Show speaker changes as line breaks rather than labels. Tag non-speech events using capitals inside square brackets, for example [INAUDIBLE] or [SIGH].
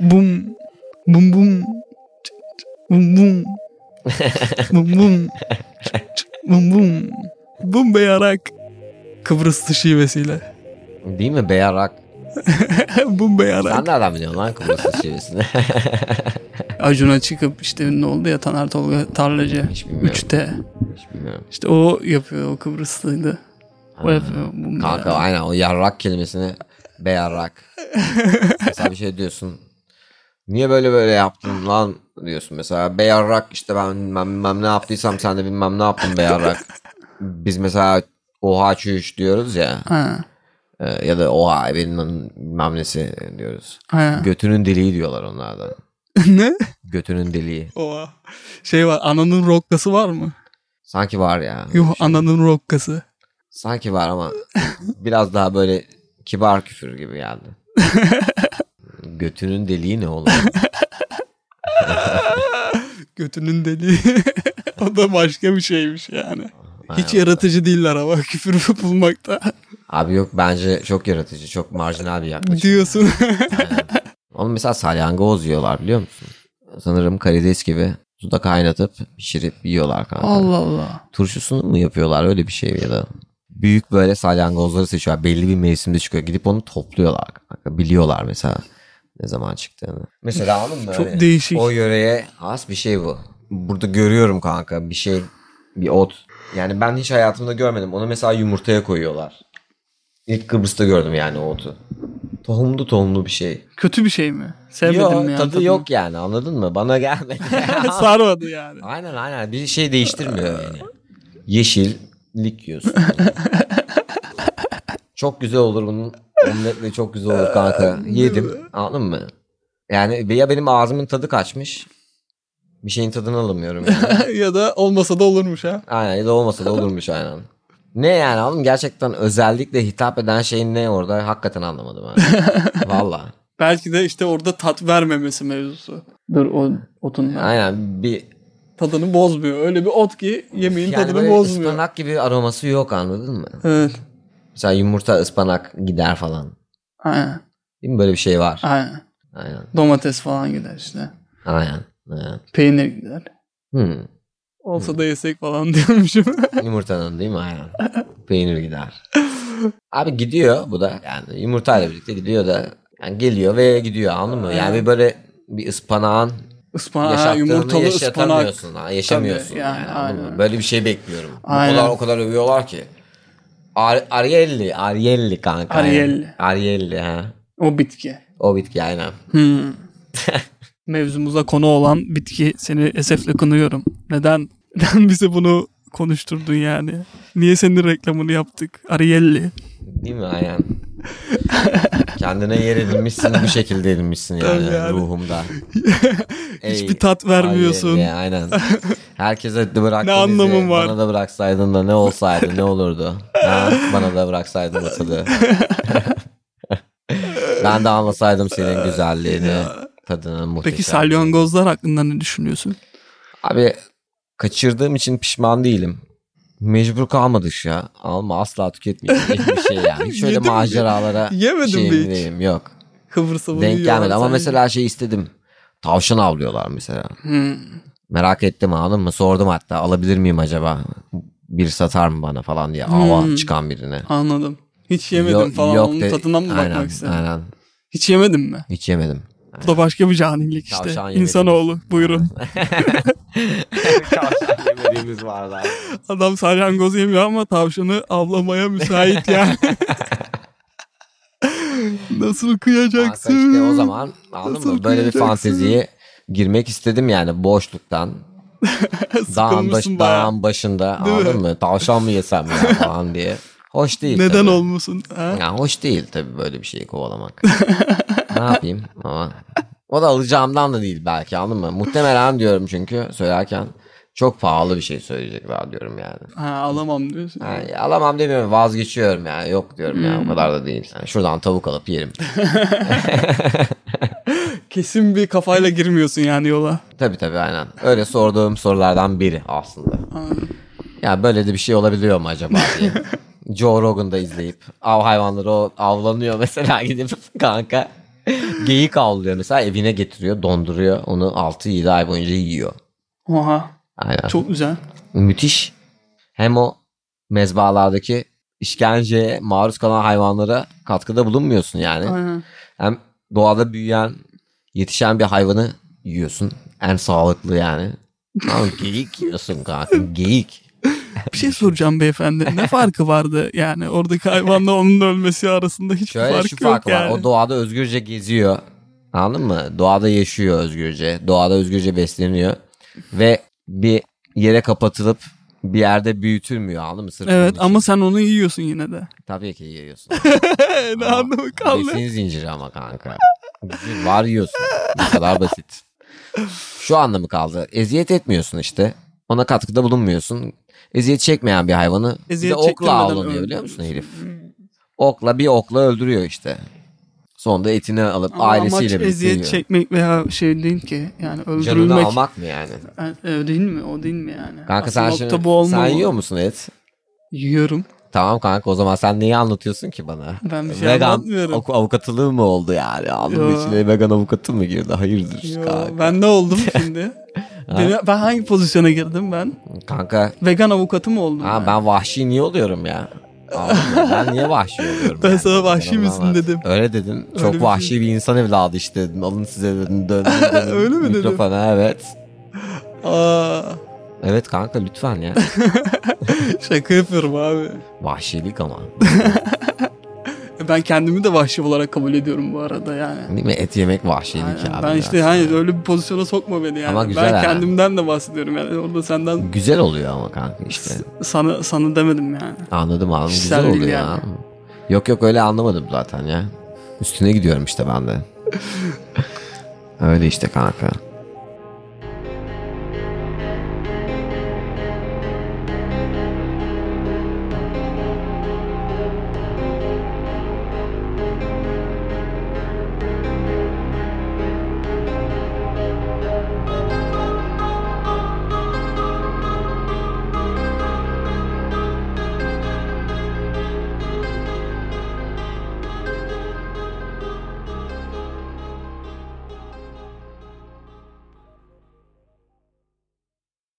Bum. Bum bum. Bum
[LAUGHS]
bum. Bum bum. Bum bum. Bum beyarak. Kıbrıslı şivesiyle. [LAUGHS]
Değil mi? Beyarak.
Bum beyarak.
Sen nereden biliyorsun lan Kıbrıs'ın
[LAUGHS]
şivesini?
Acun'a çıkıp işte ne oldu ya Taner Tolga Tarlacı.
Hiç bilmiyorum.
3'te.
Hiç bilmiyorum.
İşte o yapıyor o Kıbrıslıydı. O
Ha.
yapıyor. Bum
Kanka
beyarak.
aynen o yarrak kelimesini beyarrak. mesela bir şey diyorsun. Niye böyle böyle yaptın lan diyorsun mesela. Beyarrak işte ben bilmem, bilmem ne yaptıysam sen de bilmem ne yaptın beyarrak. Biz mesela oha çüş diyoruz ya.
Ha.
Ee, ya da oha evinin bilmem nesi diyoruz.
Ha.
Götünün deliği diyorlar onlarda.
[LAUGHS] ne?
Götünün deliği.
Oha. Şey var ananın rokkası var mı?
Sanki var ya.
Yuh ananın rokkası.
Sanki var ama biraz daha böyle kibar küfür gibi geldi. Götünün deliği ne oğlum?
Götünün deliği. [LAUGHS] o da başka bir şeymiş yani. Hiç
Aynen.
yaratıcı değiller ama [LAUGHS] küfür bulmakta.
[LAUGHS] Abi yok bence çok yaratıcı, çok marjinal bir yaklaşım.
Diyorsun. [LAUGHS]
Oğlum mesela salyangoz yiyorlar biliyor musun? Sanırım karides gibi suda kaynatıp pişirip yiyorlar kanka.
Allah.
Turşusunu mu yapıyorlar öyle bir şey ya da? Büyük böyle salyangozları seçiyorlar. Belli bir mevsimde çıkıyor. Gidip onu topluyorlar kanka. Biliyorlar mesela ne zaman çıktığını. Mesela anladın mı? Hani
Çok değişik.
O yöreye has bir şey bu. Burada görüyorum kanka bir şey bir ot. Yani ben hiç hayatımda görmedim. Onu mesela yumurtaya koyuyorlar. İlk Kıbrıs'ta gördüm yani o otu. Tohumlu tohumlu bir şey.
Kötü bir şey mi? Sevmedim
Yok
ya.
tadı
tadını. [LAUGHS]
yok yani anladın mı? Bana gelmedi.
Sarmadı
[LAUGHS]
yani.
aynen aynen bir şey değiştirmiyor yani.
[LAUGHS]
Yeşillik yiyorsun. çok güzel olur bunun omletle çok güzel olur kanka. Yedim anladın mı? Yani ya benim ağzımın tadı kaçmış. Bir şeyin tadını alamıyorum yani.
[LAUGHS] ya da olmasa da olurmuş ha.
Aynen ya da olmasa da olurmuş aynen. Ne yani oğlum gerçekten özellikle hitap eden şeyin ne orada hakikaten
[LAUGHS]
anlamadım ha. Valla.
Belki de işte orada tat vermemesi mevzusu. Dur o otun
Aynen bir
tadını bozmuyor. Öyle bir ot ki yemeğin
yani
tadını
böyle
bozmuyor.
ıspanak gibi aroması yok anladın mı?
Evet.
Mesela yumurta ıspanak gider falan.
Aynen.
Değil mi böyle bir şey var?
Aynen.
Aynen.
Domates falan gider işte.
Aynen. Aynen.
Peynir gider.
Hmm.
Olsa da yesek falan [LAUGHS] diyormuşum.
Yumurtanın değil mi? Aynen. Peynir gider. Abi gidiyor bu da yani yumurtayla birlikte gidiyor da yani geliyor ve gidiyor anladın mı? Yani bir böyle bir ıspanağın
Ispanak,
yaşattığını
yumurtalı ıspanak.
yaşatamıyorsun. Ha, yaşamıyorsun
Tabii, yani,
yani, anladın mı?
aynen.
Böyle bir şey bekliyorum.
Aynen.
O kadar o kadar övüyorlar ki. Ar- Arielli, Arielli kanka.
Arielli.
Yani. Arielli ha.
O bitki.
O bitki aynen.
Hmm. Mevzumuza konu olan bitki seni esefle kınıyorum. Neden? [LAUGHS] Neden bize bunu konuşturdun yani? Niye senin reklamını yaptık? Arielli.
Değil mi aynen? Kendine yer edinmişsin bu şekilde edinmişsin yani,
Tabii yani.
ruhumda.
[LAUGHS] Hiçbir tat vermiyorsun.
Arielli, aynen. Herkese de bıraktın
Ne
bizi,
anlamın var?
Bana da bıraksaydın da ne olsaydı ne olurdu? Ha, bana da bıraksaydın da tadı.
[LAUGHS]
ben de anlasaydım senin güzelliğini, tadını muhteşem.
Peki salyangozlar hakkında ne düşünüyorsun?
Abi kaçırdığım için pişman değilim. Mecbur kalmadık ya. Alma asla tüketmeyeceğim bir şey
[LAUGHS]
yani. Hiç öyle
Yedin mi?
maceralara
Yemedin mi
şeyim
hiç?
değilim, Yok.
Kıbrıs'a bunu
Denk
yiyorlar
gelmedi ama
sadece.
mesela şey istedim. Tavşan avlıyorlar mesela.
Hmm.
Merak ettim anladın mı? Sordum hatta alabilir miyim acaba? Bir satar mı bana falan diye. Ava
Hmm.
çıkan birine.
Anladım. Hiç yemedim
Yok-
falan.
yok
Onun
de-
tadına mı
aynen,
bakmak istedin?
Aynen.
Hiç yemedim mi?
Hiç yemedim.
Bu da başka bir canilik işte.
Tavşan yemedim.
İnsanoğlu
[LAUGHS]
buyurun.
Tavşan yemediğimiz var da.
Adam salyangoz yemiyor ama tavşanı avlamaya müsait
[LAUGHS]
yani. Nasıl
Kanka
kıyacaksın?
işte o zaman anladın
Nasıl
mı? Böyle bir
kıyacaksın?
fanteziye girmek istedim
[LAUGHS]
yani boşluktan. Dağın, baş,
Sıkılmışsın bayağı.
dağın başında
Değil
anladın
mi?
mı? Tavşan mı yesem
[LAUGHS]
ya falan diye. Hoş değil
Neden
tabii.
olmuşsun? Ha?
Ya hoş değil tabii böyle bir şeyi kovalamak. ne yapayım ama. O da alacağımdan da değil belki anladın mı? Muhtemelen diyorum çünkü söylerken çok pahalı bir şey söyleyecekler diyorum yani.
ha alamam diyorsun.
Yani alamam demiyorum vazgeçiyorum yani yok diyorum
Hmm.
ya o kadar da değil. Yani şuradan tavuk alıp yerim.
Kesin bir kafayla girmiyorsun yani yola.
tabii tabii aynen. Öyle sorduğum sorulardan biri aslında. Ya böyle de bir şey olabiliyor mu acaba
[LAUGHS]
diye. Joe Rogan'da izleyip av hayvanları o avlanıyor mesela gidip [LAUGHS] kanka. Geyik avlıyor mesela evine getiriyor donduruyor onu 6-7 ay boyunca yiyor.
Oha.
Aynen.
Çok [LAUGHS] güzel.
Müthiş. Hem o mezbalardaki işkenceye maruz kalan hayvanlara katkıda bulunmuyorsun yani.
Aynen.
Hem doğada büyüyen, yetişen bir hayvanı yiyorsun. En sağlıklı yani. Ama geyik
[LAUGHS]
yiyorsun kanka. Geyik.
Bir şey soracağım beyefendi. [LAUGHS] Ne farkı vardı yani oradaki hayvanla onun ölmesi arasında hiç
Şöyle
fark
şu
yok
fark var.
yani.
O doğada özgürce geziyor. Anladın mı? Doğada yaşıyor özgürce. Doğada özgürce besleniyor. Ve bir yere kapatılıp bir yerde büyütülmüyor anladın mı? Sırf bunun
Evet
için.
ama sen onu yiyorsun yine [LAUGHS] de.
Tabii
[LAUGHS]
ki yiyorsun.
ne
Ama
anlamı kaldı?
Besin zinciri ama kanka. Var yiyorsun. Bu kadar basit. Şu anlamı kaldı. Eziyet etmiyorsun işte. Ona katkıda bulunmuyorsun. Eziyet çekmeyen bir hayvanı
Eziyet
bir de okla
çektirmeden
avlanıyor biliyor
öldürüyorsun.
musun herif? Okla bir okla öldürüyor işte. Sonunda etini alıp
Ama amaç
ailesiyle birlikte
eziyet
yiyor.
çekmek veya şey değil ki. Yani
Canını
öldürülmek.
almak mı yani?
E, e, değil mi? O değil mi yani?
Kanka sen
Asıl
şimdi
nokta bu
sen
olmamalı.
yiyor musun et?
Yiyorum.
Tamam kanka o zaman sen neyi anlatıyorsun ki bana?
Ben bir şey
vegan
anlatmıyorum.
av- avukatılığı mı oldu yani? Anladın mı
Yo.
içine vegan avukatı mı girdi? Hayırdır
Yo,
kanka?
ben ne [LAUGHS] oldum şimdi? Beni- ben hangi pozisyona girdim ben?
Kanka
Vegan avukatı mı oldum?
ha, ben vahşi niye oluyorum ya? Anladın mı? ben niye vahşi oluyorum?
Ben
yani?
sana vahşi
Bana
misin
bak.
dedim.
Öyle dedin.
Öyle
Çok
bir şey.
vahşi bir insan evladı işte dedin. Alın size
[LAUGHS]
dedim. Döndüm dedim.
Öyle mi dedim?
Mikrofona evet.
Aa,
Evet kanka lütfen
[LAUGHS]
ya.
şaka yapıyorum abi.
Vahşilik ama.
Ben kendimi de vahşi olarak kabul ediyorum bu arada yani.
Değil mi? Et yemek vahşilik
Aynen.
abi.
ben
biraz.
işte hani öyle bir pozisyona sokma beni yani.
Ama güzel
ben
ha.
kendimden de bahsediyorum yani. Orada senden
Güzel oluyor ama kanka işte.
sana sana demedim yani.
Anladım anladım.
Kişisel
Güzel oluyor
değil
ya.
yani.
Yok yok öyle anlamadım
[LAUGHS]
zaten ya. Üstüne gidiyorum işte ben de. öyle işte kanka.